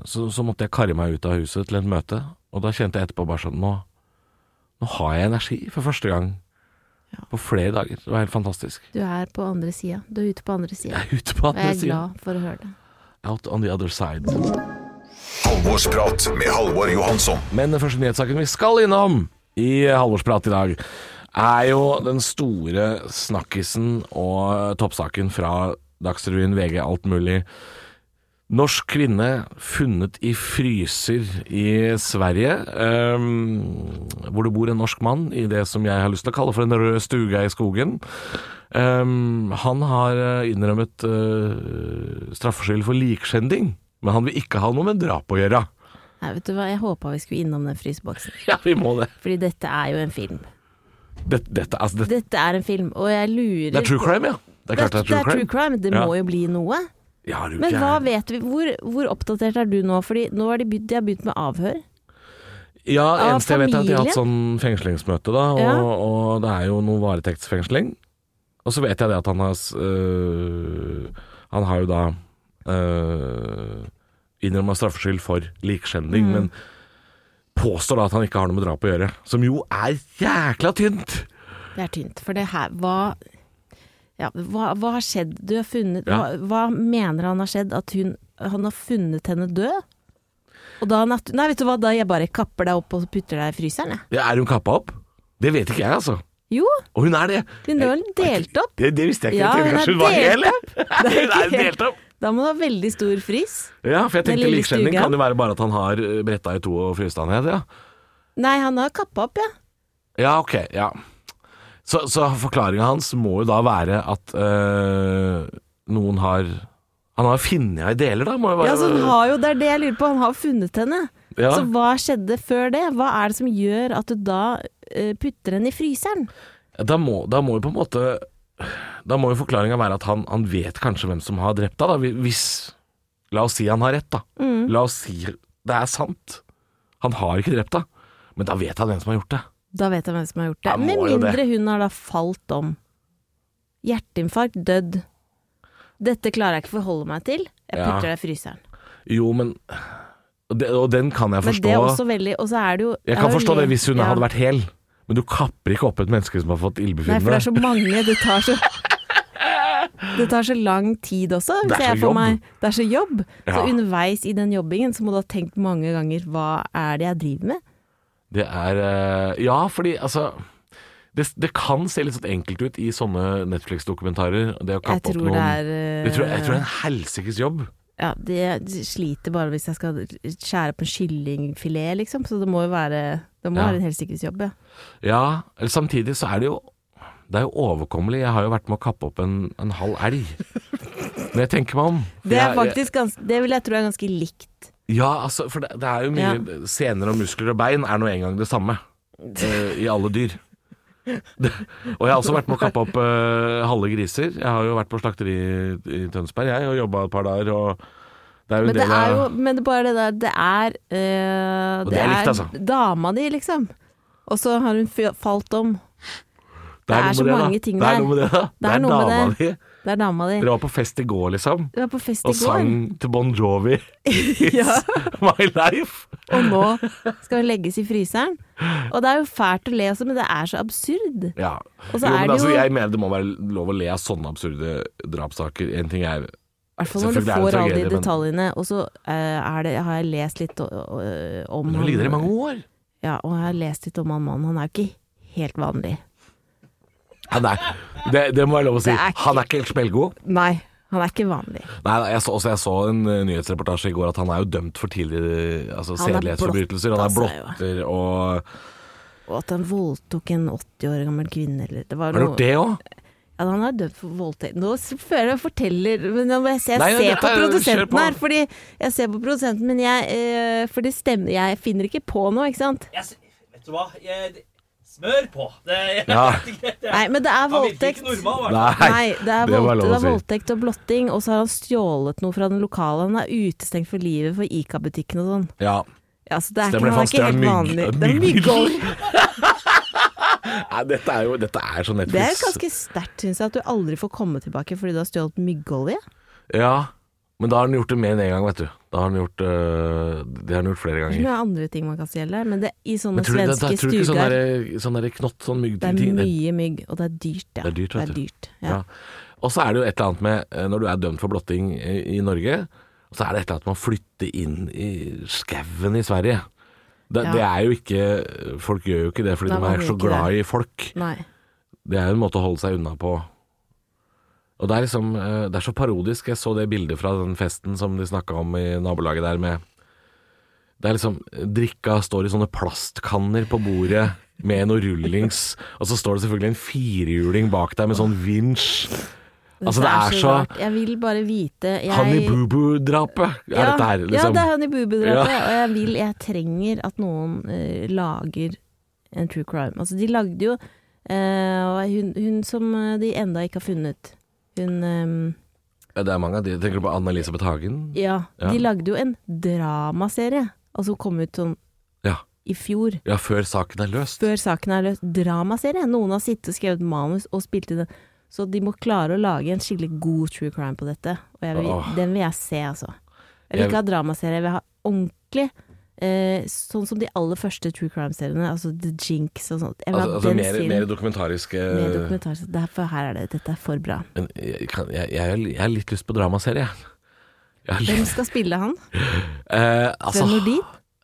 S5: så, så måtte jeg karre meg ut av huset til et møte. Og da kjente jeg etterpå bare sånn Nå, nå har jeg energi for første gang på flere dager. Det var helt fantastisk.
S8: Du er på andre sida. Du er ute på andre sida.
S5: Jeg er ute på
S8: Og
S5: andre
S8: jeg er
S5: siden.
S8: glad for å høre det.
S5: Out on the other side.
S6: Halvorsprat med Halvor Johansson.
S5: Men den første nyhetssaken vi skal innom i Halvorsprat i dag, er jo den store snakkisen og toppsaken fra Dagsrevyen, VG, alt mulig. Norsk kvinne funnet i fryser i Sverige, ehm, hvor det bor en norsk mann i det som jeg har lyst til å kalle for en rød stuga i skogen. Ehm, han har eh, innrømmet uh, straffskyld for likskjending, men han vil ikke ha noe med drap å gjøre.
S8: Nei, vet du hva, jeg håpa vi skulle innom den fryseboksen.
S5: Ja, vi må det.
S8: Fordi dette er jo en film.
S5: Dette, dette, altså, dette,
S8: Dette er en film, og jeg lurer
S5: det er true crime, ja. Det er klart det er true crime.
S8: Det
S5: Ja.
S8: må jo bli noe.
S5: Ja, er du
S8: Men hva
S5: gæren?
S8: vet vi? Hvor, hvor oppdatert er du nå? Fordi nå har de begynt, de har begynt med avhør.
S5: Ja, det
S8: Av
S5: eneste jeg vet er at de har hatt
S8: familie?
S5: sånn fengslingsmøte, da. Og,
S8: Ja.
S5: og det er jo noe varetektsfengsling. Og så vet jeg det at han har s- øh, Han har jo da øh, innrømma straffskyld for
S8: Mm.
S5: likskjending, men påstår da at han ikke har noe med drap å gjøre. Som jo er jækla tynt!
S8: Det er tynt. For det her Hva, ja, hva, hva har skjedd? Du har funnet
S5: Ja.
S8: hva, hva mener han har skjedd? At hun, han har funnet henne død? Og da nat Nei, vet du hva, da jeg bare kapper deg opp og putter deg i fryseren, jeg.
S5: Ja, er hun kappa opp? Det vet ikke jeg, altså.
S8: Jo,
S5: Og hun er det.
S8: hun er vel delt opp.
S5: Det, det visste jeg ikke.
S8: Ja,
S5: jeg trodde
S8: hun er
S5: kanskje hun var hel,
S8: delt
S5: <laughs> jeg. Hun er delt opp.
S8: Da må du ha veldig stor frys.
S5: Ja, for jeg
S8: Den
S5: tenkte
S8: lille
S5: likskjending
S8: stuga.
S5: kan jo være bare at han har øh, bretta i to og fryst han ned, ja.
S8: Nei, han har kappa opp, ja.
S5: Ja, ok. Ja. Så, så forklaringa hans må jo da være at øh, noen har Han har funnet ei deler, da? Må jo være,
S8: ja så han har jo, det er det jeg lurer på. Han har funnet henne.
S5: Ja.
S8: Så hva skjedde før det? Hva er det som gjør at du da eh, putter henne i fryseren?
S5: da, må, da må jo på en måte Da må jo forklaringa være at han, han vet kanskje hvem som har drept deg, da. Hvis La oss si han har rett, da.
S8: Mm.
S5: La oss si det er sant. Han har ikke drept deg. Men da vet han hvem som har gjort det.
S8: Da vet jeg hvem som har gjort det.
S5: Jeg må
S8: Med
S5: jo det.
S8: mindre hun har da falt om. Hjerteinfarkt, dødd. Dette klarer jeg ikke forholde meg til. Jeg
S5: Ja.
S8: putter det i fryseren.
S5: Jo, men Og, det, og den kan jeg
S8: Men det
S5: forstå.
S8: er også veldig Og så er det jo
S5: Jeg kan
S8: har jo
S5: forstå det
S8: lest-
S5: hvis hun
S8: ja.
S5: hadde vært hel, men du kapper ikke opp et menneske som har fått
S8: Nei, for det
S5: ildbefinnende.
S8: er så mange. Det tar så
S5: <laughs>
S8: Det tar så lang tid også.
S5: Det er
S8: ser jeg
S5: så
S8: for
S5: jobb.
S8: meg. Det er så jobb. Så
S5: Ja.
S8: underveis i den jobbingen så må du ha tenkt mange ganger hva er det jeg driver med?
S5: Det er eh, Ja, fordi altså det, det kan se litt sånn enkelt ut i sånne Netflix-dokumentarer. Det å
S8: Jeg
S5: kappe opp
S8: tror
S5: noen
S8: det er eh,
S5: jeg, tror, jeg tror det er en helsikes jobb.
S8: ja, det sliter bare hvis jeg skal skjære på en kyllingfilet, liksom. Så det må jo være Det må
S5: Ja.
S8: være en helsikes jobb, ja.
S5: Ja, eller samtidig så er det jo Det er jo overkommelig. Jeg har jo vært med å kappe opp en, en halv
S8: <laughs>
S5: elg. Når jeg tenker meg om.
S8: Det er
S5: Jeg-
S8: faktisk ganske Det vil jeg tro er ganske likt.
S5: Ja, altså, for det, det er jo mye Sener og muskler og bein er nå en gang det samme eh, i alle dyr. Det, og jeg har også vært med å kappe opp eh, halve griser. Jeg har jo vært på slakteri i, i Tønsberg jeg, og jobba et par dager. Og det er jo
S8: Men
S5: en
S8: det
S5: del
S8: er
S5: av
S8: jo Men det er bare det der Det er eh,
S5: Og det er likt, altså.
S8: dama di, liksom. Og så har hun f- falt om. det er
S5: noe
S8: så
S5: med det, da.
S8: mange ting
S5: det
S8: der.
S5: er noe med det, da. Det er,
S8: noe med
S5: dama di.
S8: det. Det er dama di.
S5: Dere var på fest i går, liksom.
S8: Du var på fest i
S5: Og
S8: går,
S5: sang til Bon Jovi. It's
S8: <laughs> Ja.
S5: <laughs> my life.
S8: og nå skal hun legges i fryseren. Og det er jo fælt å le også, men det er så absurd.
S5: Ja.
S8: Og så
S5: Jo,
S8: er
S5: men
S8: det
S5: altså,
S8: jo-
S5: jeg mener det må være lov å le av sånne absurde drapssaker. En ting er
S8: I hvert fall når du
S5: Selvfølgelig er det
S8: får alle de
S5: tragedie, men-
S8: detaljene. Og så eh, er det, har jeg lest litt eh, om
S5: Nå lider i mange år.
S8: Ja, og jeg har lest litt om han mannen. Han er jo ikke helt vanlig.
S5: Han er, det, det må jeg lov å si.
S8: Det er ikke-
S5: Han er ikke helt smellgod.
S8: Nei, han er ikke vanlig.
S5: Nei, jeg så, også jeg så en eh, nyhetsreportasje i går at han er jo dømt for tidligere altså,
S8: Han er altså,
S5: sedelighetsforbrytelser. Han er
S8: blotta seg,
S5: blotter og
S8: Og at han voldtok en 80 år gammel kvinne, eller det var
S5: Har du
S8: noe
S5: gjort det
S8: <laughs>
S5: òg?
S8: Ja, han er dømt for voldtekt. Nå s- føler jeg forteller men Nå må jeg se, jeg
S5: Nei, ja,
S8: ser
S5: dette
S8: på
S5: er- kjør
S8: produsenten
S5: på.
S8: her, fordi jeg ser på produsenten, men jeg eh, For det stemmer, jeg finner ikke på noe, ikke sant?
S9: Jeg, s- vet du hva? Jeg, smør på! Det, jeg,
S5: Ja.
S8: Nei, men det er
S9: han virker ikke
S8: voldtekt.
S9: normal, i hvert fall.
S5: Nei.
S8: Nei, det er,
S5: det må jeg lov
S8: voldt- det
S5: å
S8: er
S5: si.
S8: voldtekt og blotting, og så har han stjålet noe fra den lokale. Han er utestengt for livet for Ica-butikken og sånn.
S5: Ja.
S8: Ja, så det er
S5: Stemmer det,
S8: ikke, han er ikke
S5: for han
S8: helt
S5: stjal
S8: vanlig.
S5: mygg-
S8: Det er myggolv.
S5: Nei, dette er jo dette er så
S8: Det er
S5: Netflix.
S8: jo ganske sterkt, syns jeg, at du aldri får komme tilbake fordi du har stjålet myggolje.
S5: Ja. Men da har han gjort det mer enn én en gang, vet du. Da har han gjort, eh, det har han gjort flere
S8: Det
S5: ganger.
S8: er andre ting man kan stjele, men det, i sånne
S5: Men tror du, det,
S8: svenske
S5: tror du ikke sånn
S8: stugar
S5: derre- sånn derre knott, sånn
S8: Det er
S5: myggting
S8: mye mygg, og det er dyrt, ja.
S5: Det er dyrt, vet du.
S8: dyrt, ja.
S5: Ja. Og så er det jo et eller annet med, eh, når du er dømt for blotting i i Norge, så er det et eller annet med å flytte inn i skauen i Sverige. Det,
S8: Ja.
S5: det er jo ikke Folk gjør jo ikke det fordi
S8: Nei,
S5: de
S8: man
S5: er
S8: gjør
S5: så
S8: ikke
S5: glad
S8: det.
S5: i folk.
S8: Nei.
S5: Det er jo en måte å holde seg unna på. Og det er liksom eh, Det er så parodisk. Jeg så det bildet fra den festen som de snakka om i nabolaget der med Det er liksom Drikka står i sånne plastkanner på bordet med noe rullings, og så står det selvfølgelig en firehjuling bak der med sånn vinsj. Altså, det er så
S8: rart. Jeg vil bare vite jeg...
S5: Hanni Bubu-drapet er
S8: Ja,
S5: dette her,
S8: Ja,
S5: liksom.
S8: det er Honey Boo-bedrapet,
S5: Ja.
S8: og jeg vil Jeg trenger at noen eh, lager en true crime. Altså, de lagde jo Eh, og hun, hun som eh, de enda ikke har funnet. Hun ehm,
S5: Det er mange av de. Tenker du på Anne-Elisabeth Hagen?
S8: ja,
S5: Ja.
S8: de lagde jo en dramaserie. Altså som kom ut sånn
S5: Ja.
S8: i fjor.
S5: Ja, før saken er løst.
S8: Før saken er løst. Dramaserie. Noen har sittet og skrevet manus og spilt i det. Så de må klare å lage en skikkelig god true crime på dette. Og jeg vil,
S5: Åh.
S8: den vil jeg se, altså. Jeg vil
S5: Jeg-
S8: ikke ha dramaserie, jeg vil ha ordentlig. Eh, sånn som de aller første true crime-seriene, altså The Jinx og sånt. Jeg vil
S5: Altså,
S8: ha
S5: altså
S8: den
S5: mer,
S8: serien
S5: mer dokumentarisk eh,
S8: med dokumentar. Så derfor her er det, dette er for bra.
S5: men jeg, kan, jeg, jeg, har- jeg har litt lyst på dramaserie. jeg. Jeg har
S8: Hvem
S5: litt,
S8: skal spille han?
S5: eh, altså,
S8: Sven Nordin?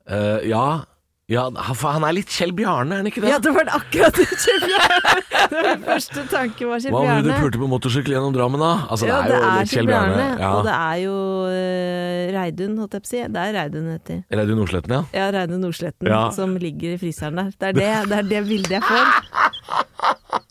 S5: eh, ja, ja, han- for han er litt Kjell Bjarne, er han ikke det?
S8: Ja, det var det akkurat det Kjell <laughs> Bjarne! Det var min første tanke var Kjell
S5: Hva var det
S8: Bjarne.
S5: du pulte på motorsykkel gjennom Drammen da? Altså,
S8: ja, det er
S5: litt
S8: Kjell Bjarne, og
S5: Ja.
S8: det er jo eh, Reidun, holdt jeg på å si. Det er Reidun heter.
S5: Reidun Nordsletten,
S8: <laughs>
S5: ja.
S8: Ja, Reidun Nordsletten
S5: Ja.
S8: som ligger i fryseren der. Det er det, det er det bildet jeg får.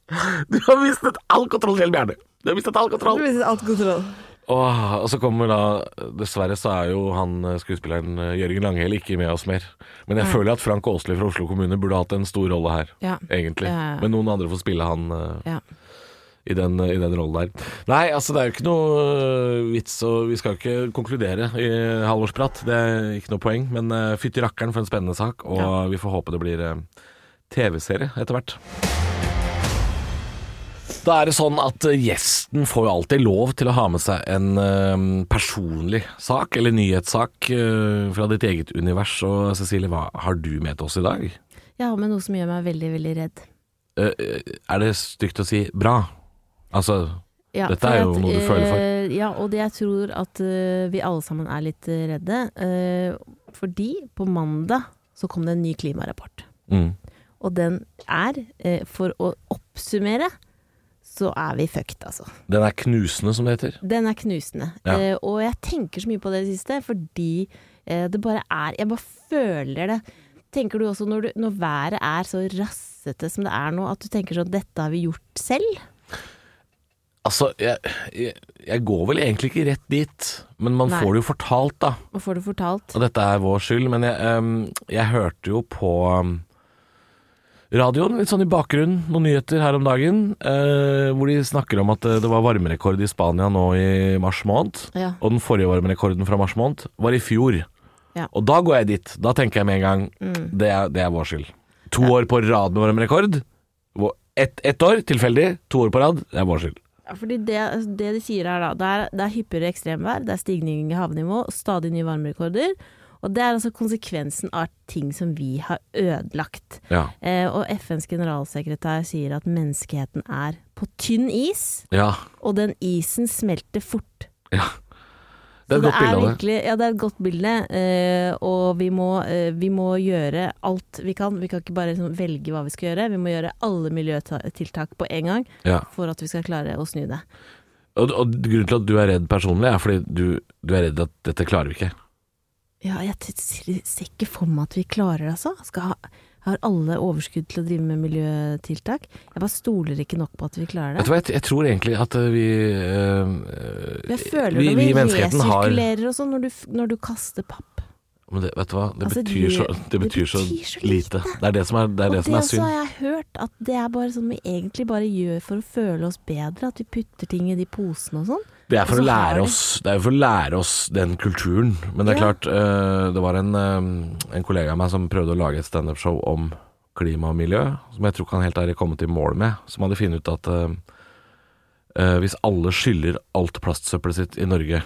S5: <laughs> Du har mistet all kontroll, Kjell Bjarne. Du har mistet all
S8: Det
S5: kontroll.
S8: viser alt kontroll.
S5: Åh, og så kommer da Dessverre så er jo han eh, skuespilleren eh, Jørgen Langhell ikke med oss mer. Men jeg føler at Frank Aasli fra Oslo kommune burde hatt en stor rolle her,
S8: Ja.
S5: egentlig.
S8: Ja, ja.
S5: Men noen andre får spille han eh,
S8: Ja.
S5: i den, i den rollen der. Nei, altså det er jo ikke noe øh, vits, og vi skal jo ikke konkludere i halvårsprat. Det er ikke noe poeng, men øh, fytti rakkeren for en spennende sak, og vi får håpe det blir øh, TV-serie etter hvert. Da er det sånn at øh, gjesten får jo alltid lov til å ha med seg en øh, personlig sak, eller nyhetssak, øh, fra ditt eget univers. Og Cecilie, hva har du med til oss i dag?
S8: Jeg har med noe som gjør meg veldig, veldig redd.
S5: Eh, eh, er det stygt å si bra? Altså
S8: Ja,
S5: Dette er
S8: for
S5: jo noe du føler for.
S8: eh, Ja, og det jeg tror at eh, vi alle sammen er litt eh, redde. eh, fordi på mandag så kom det en ny klimarapport.
S5: mm.
S8: Og den er, eh, for å oppsummere, så er vi fucked, altså.
S5: Den er knusende, som det heter.
S8: Den er knusende.
S5: Ja.
S8: Eh, og jeg tenker så mye på det i det siste, fordi eh, det bare er Jeg bare føler det. Tenker du også når, du, når været er så rassete som det er nå, at du tenker sånn Dette har vi gjort selv?
S5: Altså, jeg, jeg, jeg går vel egentlig ikke rett dit, men man
S8: Nei.
S5: får det jo fortalt, da.
S8: Og får det fortalt.
S5: Og dette er vår skyld, men jeg, ehm, jeg hørte jo på ehm, radioen, litt sånn i bakgrunnen, noen nyheter her om dagen, eh, hvor de snakker om at eh, det var varmerekord i Spania nå i mars måned.
S8: Ja.
S5: Og den forrige varmerekorden fra mars måned var i fjor.
S8: Ja.
S5: Og da går jeg dit. Da tenker jeg med en gang det, er, det er vår skyld. To år på rad med varmerekord. Vår- Ett ett år, tilfeldig. To år på rad. Det er vår skyld.
S8: Ja, fordi det, det de sier her, da, det er, det er hyppigere ekstremvær, det er stigning i havnivå, stadig nye varmerekorder. Og det er altså konsekvensen av ting som vi har ødelagt.
S5: Ja.
S8: Eh, og FNs generalsekretær sier at menneskeheten er på tynn is,
S5: Ja.
S8: og den isen smelter fort.
S5: ja. Det er et
S8: Så
S5: godt bilde av det.
S8: virkelig, ja, det er et godt bilde, eh, og vi må, eh, vi må gjøre alt vi kan. Vi kan ikke bare liksom, velge hva vi skal gjøre, vi må gjøre alle miljøtiltak på en gang
S5: Ja.
S8: for at vi skal klare å snu det.
S5: Og, og grunnen til at du er redd personlig, er fordi du, du er redd at dette klarer vi ikke.
S8: Ja, jeg t- ser ser ikke for meg at vi klarer det, altså. Skal ha, har alle overskudd til å drive med miljøtiltak? Jeg bare stoler ikke nok på at vi klarer
S5: Vet du
S8: det.
S5: hva, jeg, jeg tror egentlig at eh, vi eh,
S8: Jeg
S5: vi-
S8: føler når
S5: vi
S8: vi,
S5: i menneskeheten har-
S8: resirkulerer og sånn, når, du f- når du kaster papp.
S5: men det, Vet du hva, det,
S8: Altså,
S5: betyr,
S8: det-
S5: så, det
S8: det
S5: betyr så
S8: betyr så
S5: lite. Det er det som er, det er,
S8: og
S5: det som er
S8: også
S5: synd.
S8: har jeg hørt at det er bare sånn vi egentlig bare gjør for å føle oss bedre, at vi putter ting i de posene og sånn.
S5: Det Altså, er for å
S8: Og så har
S5: lære
S8: de-
S5: oss Det er jo for å lære oss den kulturen. Men det er
S8: Ja.
S5: klart, eh, det var en, eh, en kollega av meg som prøvde å lage et standup-show om klima og miljø, som jeg tror ikke han helt har kommet i mål med. Som hadde funnet ut at eh, eh, hvis alle skyller alt plastsøppelet sitt i Norge,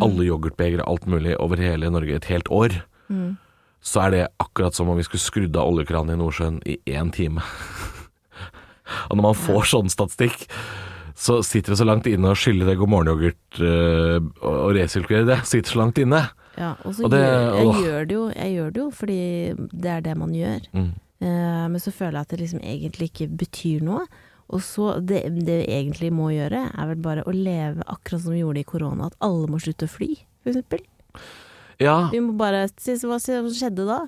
S5: alle yoghurtbegre, alt mulig, over hele Norge et helt år, Mm. så er det akkurat som om vi skulle skrudd av oljekranen i Nordsjøen i én time. <laughs> og når man får sånn statistikk, så sitter det så langt inne å skylle det god morgen-yoghurt øh, og og resirkulere det. Sitter så langt inne.
S8: Ja, og så
S5: Og det-
S8: gjør, jeg,
S5: åh.
S8: gjør det jo, jeg gjør det jo fordi det er det man gjør.
S5: Mm.
S8: Eh, men så føler jeg at det liksom egentlig ikke betyr noe. Og så det, det vi egentlig må gjøre, er vel bare å leve akkurat som vi gjorde i korona, at alle må slutte å fly, for eksempel.
S5: Ja,
S8: Vi må bare se hva som skjedde da.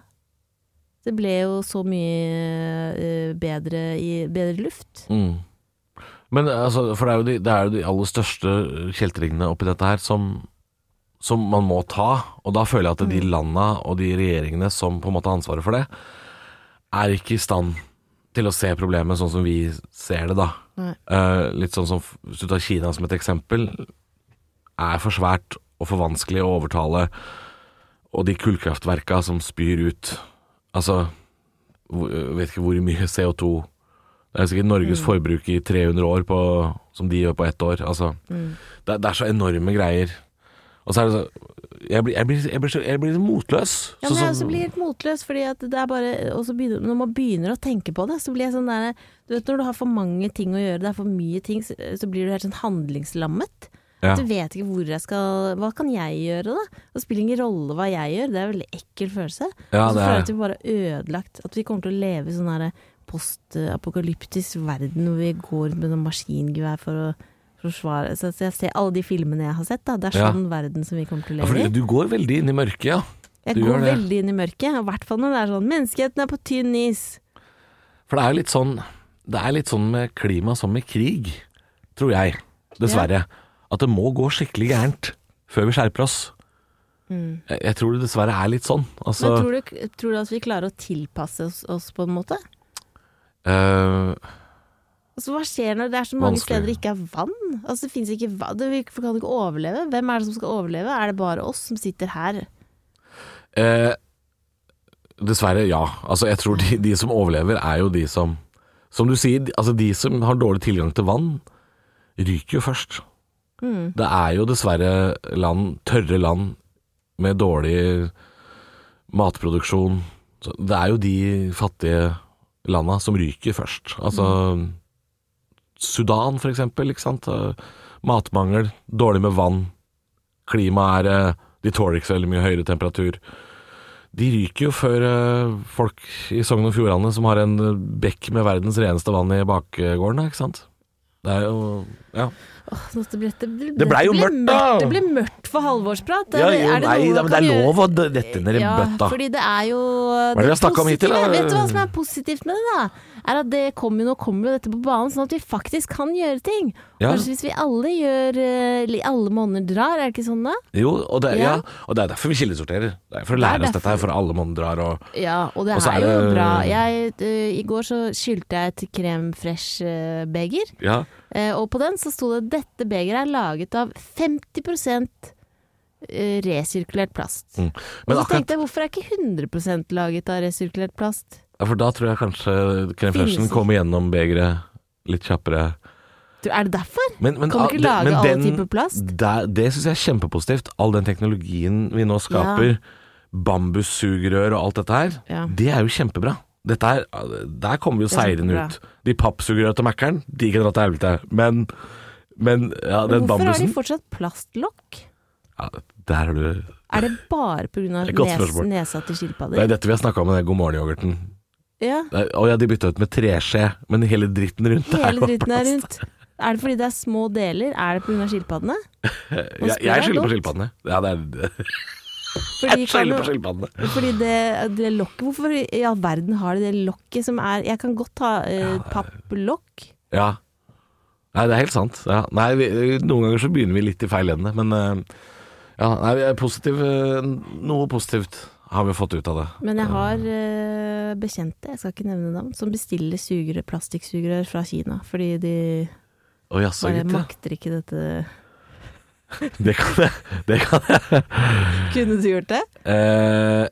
S8: Det ble jo så mye eh, bedre, i, bedre luft.
S5: Mm. Men altså, for det er, jo de, det er jo de aller største kjeltringene oppi dette her som, som man må ta. Og da føler jeg at de landa og de regjeringene som på en måte har ansvaret for det, er ikke i stand til å se problemet sånn som vi ser det, da.
S8: Nei.
S5: Eh, litt sånn som Hvis du tar Kina som et eksempel, er for svært og for vanskelig å overtale, og de kullkraftverka som spyr ut Altså, hvor- jeg vet ikke hvor mye CO2 Det er sikkert
S8: Mm.
S5: Norges forbruk i 300 år på, som de gjør på ett år. Altså,
S8: Mm.
S5: det, er- det er så enorme greier. Og så er det så Jeg blir, jeg blir, jeg blir, så- jeg blir litt motløs.
S8: Ja,
S5: Sånn
S8: men jeg
S5: som-
S8: også blir helt motløs, fordi at det er bare og så begynner, Når man begynner å tenke på det, så blir jeg sånn der Du vet når du har for mange ting å gjøre, det er for mye ting, så, så blir du helt sånn handlingslammet.
S5: Ja.
S8: Du vet ikke hvor jeg skal Hva kan jeg gjøre, da? Det spiller ingen rolle hva jeg gjør, det er en veldig ekkel følelse.
S5: Ja,
S8: og så
S5: det er det.
S8: altså føler jeg at vi bare er ødelagt. At vi kommer til å leve i sånn her postapokalyptisk verden hvor vi går rundt med noen maskingevær for å forsvare så, så jeg ser alle de filmene jeg har sett, da. Det er
S5: Ja.
S8: sånn verden som vi kommer til å
S5: ja,
S8: leve i.
S5: for du går veldig inn i mørket, ja.
S8: Jeg
S5: Du
S8: går
S5: gjør det.
S8: veldig inn i mørket, og i hvert fall når det er sånn Menneskeheten er på tynn is.
S5: For det er litt sånn Det er litt sånn med klima som med krig, tror jeg. Dessverre. At det må gå skikkelig gærent før vi skjerper oss. Jeg, jeg tror det dessverre er litt sånn. Altså,
S8: Men tror du, tror du at vi klarer å tilpasse oss, oss på en måte?
S5: eh,
S8: Altså, hva skjer når det er så mange
S5: Vanskelig.
S8: steder det ikke er vann? Altså, det finnes ikke vann, det, vi kan ikke overleve. Hvem er det som skal overleve? Er det bare oss som sitter her?
S5: eh, dessverre, ja. Altså, jeg tror de, de som overlever, er jo de som Som du sier, de- altså de som har dårlig tilgang til vann, ryker jo først. Det er jo dessverre land, tørre land med dårlig matproduksjon. Så det er jo de fattige landa som ryker først. Altså Sudan, for eksempel. Ikke sant? Eh, Matmangel, dårlig med vann. Klimaet er eh, De tåler ikke så veldig mye høyere temperatur. De ryker jo før eh, folk i Sogn og Fjordane, som har en eh, bekk med verdens reneste vann i bakgården, ikke sant. Det er jo Ja.
S8: Åh, nå det ble, det ble,
S5: Det ble jo mørkt, da.
S8: Det ble mørkt for halvårsprat.
S5: Ja, jo, nei,
S8: noe
S5: da, men det er
S8: man kan
S5: lov å
S8: gjøre?
S5: d- dette ned i
S8: ja,
S5: bøtta.
S8: Fordi det er jo
S5: er det vi har snakket om hittil, da?
S8: positive- Vet du hva som er positivt med det, da? Er at det kommer jo, nå kommer jo dette på banen, sånn at vi faktisk kan gjøre ting.
S5: Ja.
S8: Kanskje hvis vi alle gjør eh, li- Alle måneder drar, er det ikke sånn da?
S5: Jo, og det, ja.
S8: Ja.
S5: og det er derfor vi kildesorterer. Det er for å
S8: Det er
S5: lære oss dette her,
S8: derfor.
S5: for alle mann drar og
S8: Ja, og det
S5: Og så
S8: er,
S5: er
S8: jo
S5: det-
S8: bra. Jeg, eh, I går så skyldte jeg et Krem Fresh-beger,
S5: Ja.
S8: eh, og på den så sto det 'Dette begeret er laget av 50 eh, resirkulert plast'.
S5: Mm.
S8: Og
S5: Men
S8: så
S5: akkurat
S8: tenkte jeg, hvorfor er ikke 100 laget av resirkulert plast?
S5: ja, For da tror jeg kanskje Krem Freshen
S8: Finnes.
S5: kommer gjennom begeret litt kjappere.
S8: Du, er det derfor?
S5: Men, men,
S8: Kan du ikke
S5: ah,
S8: lage
S5: men
S8: alle typer plast?
S5: Det, det syns jeg er kjempepositivt. All den teknologien vi nå skaper, bambussugerør og alt dette her,
S8: Ja.
S5: det er jo kjempebra. Dette er, der kommer vi jo
S8: Det er
S5: seirende
S8: kjempebra.
S5: ut. De pappsugerøra til Mækkern, de kan dra til helvete. Men, men ja, den
S8: Hvorfor har de
S5: bambusen
S8: fortsatt plastlokk?
S5: ja, Der har du
S8: Er det bare pga.
S5: Det er et godt
S8: Nes,
S5: spørsmål.
S8: nesa til
S5: Det er
S8: skilpadder?
S5: dette vi har snakka om med den God morgen-yoghurten.
S8: Ja,
S5: Det er- Å ja, de bytta ut med treskje, men hele dritten rundt er
S8: hele
S5: jo
S8: dritten er
S5: plast.
S8: rundt. Er det fordi det er små deler? Er det pga. skilpaddene?
S5: Jeg, jeg skylder på
S8: godt.
S5: skilpaddene. Ja, det er,
S8: Fordi,
S5: jeg skylder
S8: kan-
S5: på skilpaddene.
S8: fordi det, det lokket Hvorfor i all verden har de det lokket som er Jeg kan godt ha eh, papplokk.
S5: Ja. Nei, det er helt sant. Ja. Nei, vi, noen ganger så begynner vi litt i feil ende, men eh, ja, nei, vi er positiv, eh, noe positivt har vi fått ut av det.
S8: Men jeg har eh, bekjente, jeg skal ikke nevne navn, som bestiller sugerør, plastikksugerør fra Kina. Fordi de
S5: Å jaså,
S8: bare
S5: gitt. ja.
S8: makter ikke dette. <laughs>
S5: Det kan jeg. Det kan jeg.
S8: Kunne du gjort det?
S5: Eh,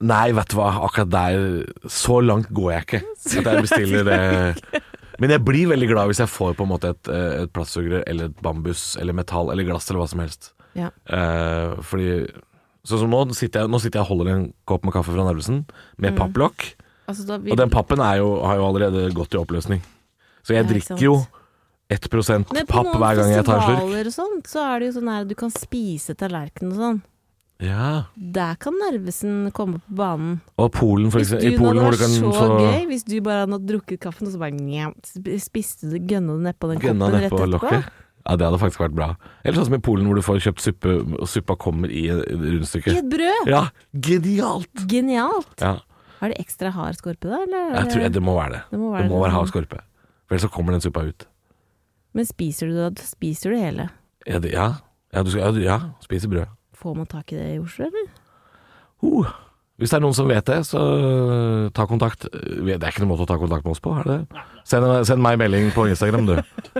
S5: nei, vet du hva, akkurat der Så langt går jeg ikke.
S8: <laughs>
S5: At jeg bestiller det. Men jeg blir veldig glad hvis jeg får på en måte et, eh, et plastsugerør eller et bambus eller metall eller glass eller hva som helst.
S8: Ja.
S5: Eh, fordi Sånn som nå sitter, jeg, nå sitter jeg og holder en kopp med kaffe fra Narvesen
S8: Mm.
S5: med papplokk.
S8: Altså, da vil-
S5: Og den pappen er jo, har jo allerede gått i oppløsning. Så jeg
S8: Ja, ikke
S5: drikker jo 1
S8: Men på
S5: papp
S8: noen
S5: hver gang jeg tar en slurk.
S8: festivaler og sånt, så er det jo sånn her at du kan spise tallerkenen og sånn.
S5: Ja.
S8: Der kan Narvesen komme på banen.
S5: Og Polen, for
S8: Hvis du
S5: eksempel. I Polen
S8: nå
S5: hvor
S8: hadde
S5: du kan
S8: vært så
S5: få
S8: gøy, hvis du bare hadde drukket kaffen og så bare njam, spiste du, gønna du nedpå den
S5: gønna
S8: koppen rett
S5: nedpå
S8: etterpå.
S5: lokket. Ja, det hadde faktisk vært bra. Eller sånn som i Polen hvor du får kjøpt suppe, og suppa kommer i et
S8: I
S5: rundstykke.
S8: et brød!
S5: Ja, genialt!
S8: Genialt!
S5: Ja,
S8: Er det ekstra hard skorpe da, eller? er
S5: jeg tror det må være det.
S8: Det må være
S5: Det må
S8: det.
S5: være hard skorpe. For ellers så kommer den suppa ut.
S8: Men spiser du det, da spiser du hele.
S5: Ja, det- ja. ja, du skal, ja, du- ja. spise brød. <laughs>
S8: Får man tak i det i Oslo, eller?
S5: Uh, Hvis det er noen som vet det, så øh, ta kontakt. Det er ikke noen måte å ta kontakt med oss på, er det det? Send, send meg melding på Instagram, du.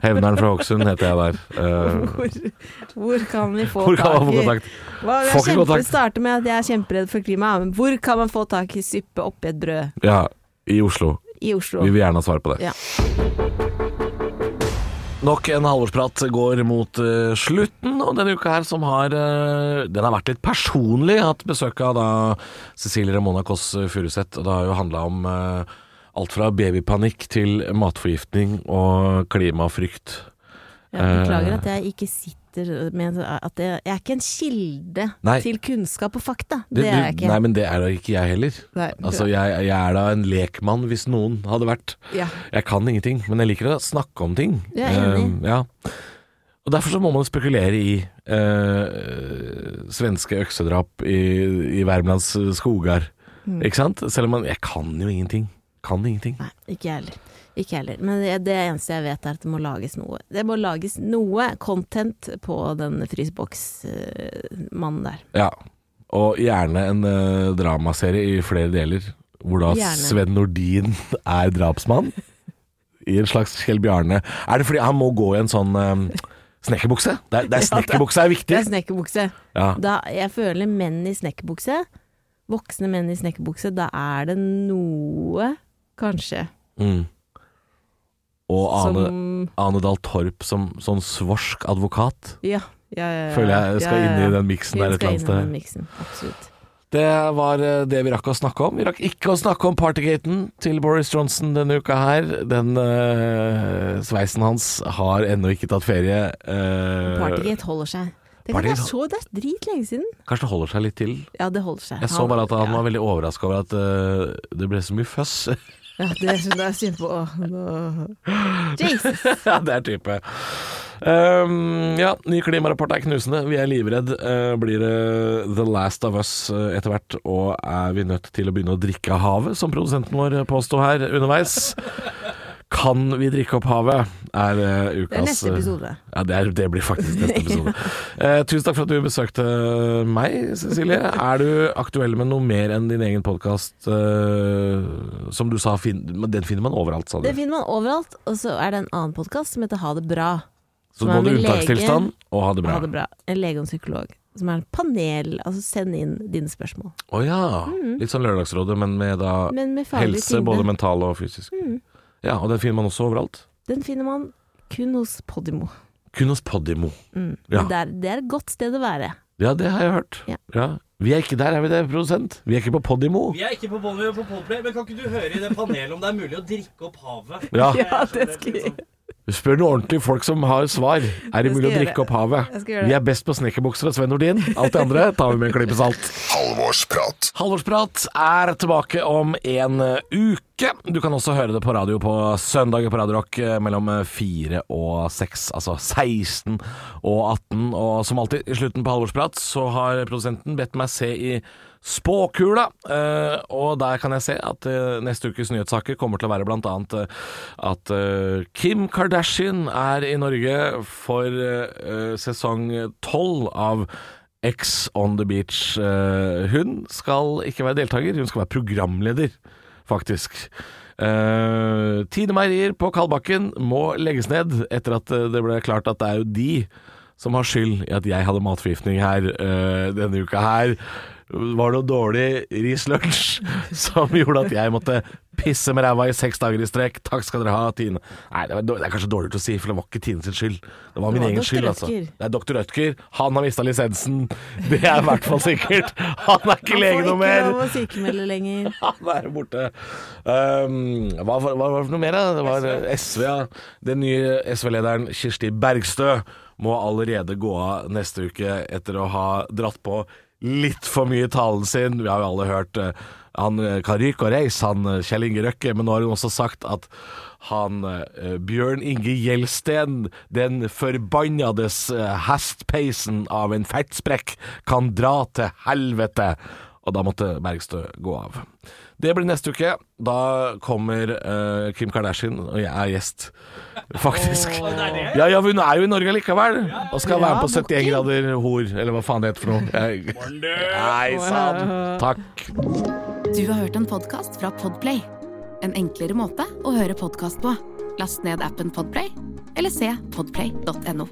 S5: Hevneren fra Hokksund heter jeg der. Eh,
S10: Hvor, hvor kan vi få
S5: hvor kan
S10: tak
S5: man få
S10: i
S5: kontakt?
S10: Hva,
S5: Får
S10: jeg
S5: ikke
S10: kjempe,
S5: kontakt.
S10: starter med at jeg er kjemperedd for klimaet, men hvor kan man få tak i suppe oppi et brød
S5: Ja, i Oslo.
S10: i Oslo?
S5: Vi vil gjerne ha svar på det.
S10: Ja.
S5: Nok en halvårsprat går mot eh, slutten, og denne uka her som har eh, Den har vært litt personlig. Jeg har hatt besøk av da Cecilie Ramona Kåss Furuseth, og det har jo handla om eh, alt fra babypanikk til matforgiftning og klimafrykt.
S8: Jeg
S5: Eh.
S8: beklager at jeg ikke sitter med at jeg, jeg er ikke en kilde
S5: Nei.
S8: til kunnskap og fakta.
S5: Det-
S8: Det, er jeg
S5: du-
S8: ikke.
S5: Nei, men det er da ikke jeg heller.
S10: Nei.
S5: altså, jeg, jeg er da en lekmann, hvis noen hadde vært.
S10: Ja.
S5: Jeg kan ingenting, men jeg liker å snakke om ting.
S8: Jeg er enig.
S5: Eh, ja. Og derfor så må man spekulere i eh, svenske øksedrap i, i Värmlands skoger.
S8: Mm.
S5: Ikke sant? Selv om man Jeg kan jo ingenting. Kan ingenting.
S8: Nei, ikke jeg heller. Ikke jeg heller. Men det, det eneste jeg vet er at det må lages noe. Det må lages noe content på den fryseboksmannen der.
S5: Ja. Og gjerne en eh, dramaserie i flere deler, hvor da
S8: Gjerne.
S5: Sven Nordin er drapsmann. I en slags Kjell Bjarne. Er det fordi han må gå i en sånn eh, snekkerbukse? Det er,
S8: <laughs>
S5: det er snekkerbukse er
S8: Det
S5: viktig!
S8: er snekkerbukse.
S5: Ja.
S8: Da, jeg føler menn i snekkerbukse, voksne menn i snekkerbukse, da er det noe, kanskje,
S5: Mm. Og Ane,
S8: som
S5: Ane Dahl Torp som sånn svorsk advokat,
S8: Ja. ja, ja, ja.
S5: føler jeg skal
S8: Ja, ja, ja.
S5: inn i den miksen der et
S8: Vi skal
S5: eller annet
S8: inn i den
S5: sted.
S8: miksen, absolutt.
S5: Det var eh, det vi rakk å snakke om. Vi rakk ikke å snakke om partygaten til Boris Johnson denne uka her. Den eh, sveisen hans har ennå ikke tatt ferie. Eh,
S8: Partygate holder seg. Det, kan
S5: Partygate
S8: jeg så, det er dritlenge siden.
S5: Kanskje det holder seg litt til.
S8: Ja, det holder seg.
S5: Jeg så bare at han
S8: ja.
S5: var veldig overraska over at eh, det ble så mye føss.
S8: Ja, det er det er synd på Åh, nå- Jesus!
S5: <laughs> ja, det er type. Um, ja, ny klimarapport er knusende. Vi er livredd. Eh, blir det the last of us eh, etter hvert? Og er vi nødt til å begynne å drikke av havet, som produsenten vår påsto her underveis? Kan vi drikke opp havet? Er eh,
S8: Det er
S5: ukas
S8: neste episode.
S5: Ja, det, er, det blir faktisk neste episode. Eh, tusen takk for at du besøkte meg, Cecilie. Er du aktuell med noe mer enn din egen podkast? som du sa, fin men den finner man overalt, sa du.
S8: Det finner man overalt. Og så er det en annen podkast som heter Ha det bra.
S5: Så
S8: som er
S5: både
S8: med
S5: unntakstilstand og ha det bra.
S8: Ha det bra. En lege og en psykolog. Som er en panel. Altså, send inn dine spørsmål.
S5: Å ja.
S10: Mm.
S5: Litt sånn Lørdagsrådet, men med da
S8: Men med faglig
S5: helse,
S8: tyngde.
S5: både mental og fysisk.
S10: Mm.
S5: Ja, og den finner man også overalt.
S8: Den finner man kun hos Podimo.
S5: Kun hos Podimo.
S8: Mm.
S5: Ja.
S8: Det, er, det er et godt sted å være.
S5: Ja, det har jeg hørt.
S8: Ja.
S5: Vi er ikke der, er vi det, produsent? Vi er ikke på Podimo.
S9: Vi er ikke på Bonnier og på Podplay, men kan ikke du høre i det panelet om det er mulig å drikke opp havet?
S5: Ja.
S10: Ja, det skal jeg-
S5: Spør noen ordentlige folk som har svar. Er det
S10: skal
S5: mulig å
S10: jeg gjøre.
S5: drikke opp havet?
S10: Jeg skal gjøre
S5: Vi
S10: det.
S5: er best på snekkerbukser og Sven Nordin. Alt det andre tar vi med en klype salt.
S6: Halvorsprat.
S5: Halvorsprat er tilbake om en eh, uke. Du kan også høre det på radio på søndager på Radio Rock eh, mellom fire og seks, altså 16 og 18. Og som alltid, i slutten på Halvorsprat så har produsenten bedt meg se i spåkula, eh, og der kan jeg se at eh, neste ukes nyhetssaker kommer til å være blant annet eh, at eh, Kim Kardashian er i Norge for eh, eh, sesong 12 av Ex on the beach. Eh, Hun skal ikke være deltaker, hun skal være programleder, faktisk. Eh, Tine Meierier på Kalbakken må legges ned etter at eh, det ble klart at det er jo de som har skyld i at jeg hadde matforgiftning her eh, denne uka her. Var det noe dårlig rislunsj <laughs> som gjorde at jeg måtte pisse med ræva i seks dager i strekk? Takk skal dere ha, Tine. Nei, det, var, dårlig- det er kanskje dårlig å si, for det var ikke Tine sin skyld. Det var min
S8: var
S5: egen
S8: Dr.
S5: skyld, altså.
S8: Rødtger.
S5: Det er Dr. Rødtger. Han har mista lisensen. Det er i hvert fall sikkert. Han er ikke lege noe
S8: ikke
S5: mer.
S8: lov å sykemelde lenger.
S5: <laughs> Han er borte. Um, hva var hva var det for noe mer? da? Det var eh, SV, ja. Den nye SV-lederen Kirsti Bergstø må allerede gå av neste uke etter å ha dratt på litt for mye i talen sin. Vi har jo alle hørt eh, han eh, kan ryke og reise, han eh, Kjell Inge Røkke, men nå har hun også sagt at han eh, Bjørn Inge Gjelsten, den forbannades eh, hestpeisen av en fettsprekk, kan dra til helvete. og da måtte Bergstø gå av. Det blir neste uke. Da kommer eh, Kim Kardashian, og jeg er gjest, faktisk. Ja, ja, hun er jo i Norge likevel, og skal være med på 71 grader hor, eller hva faen det heter for noe. Jeg- Nei sann. Takk.
S4: Du har hørt en podcast fra Podplay. En enklere måte å høre podcast på. Last ned appen Podplay, eller se podplay.no.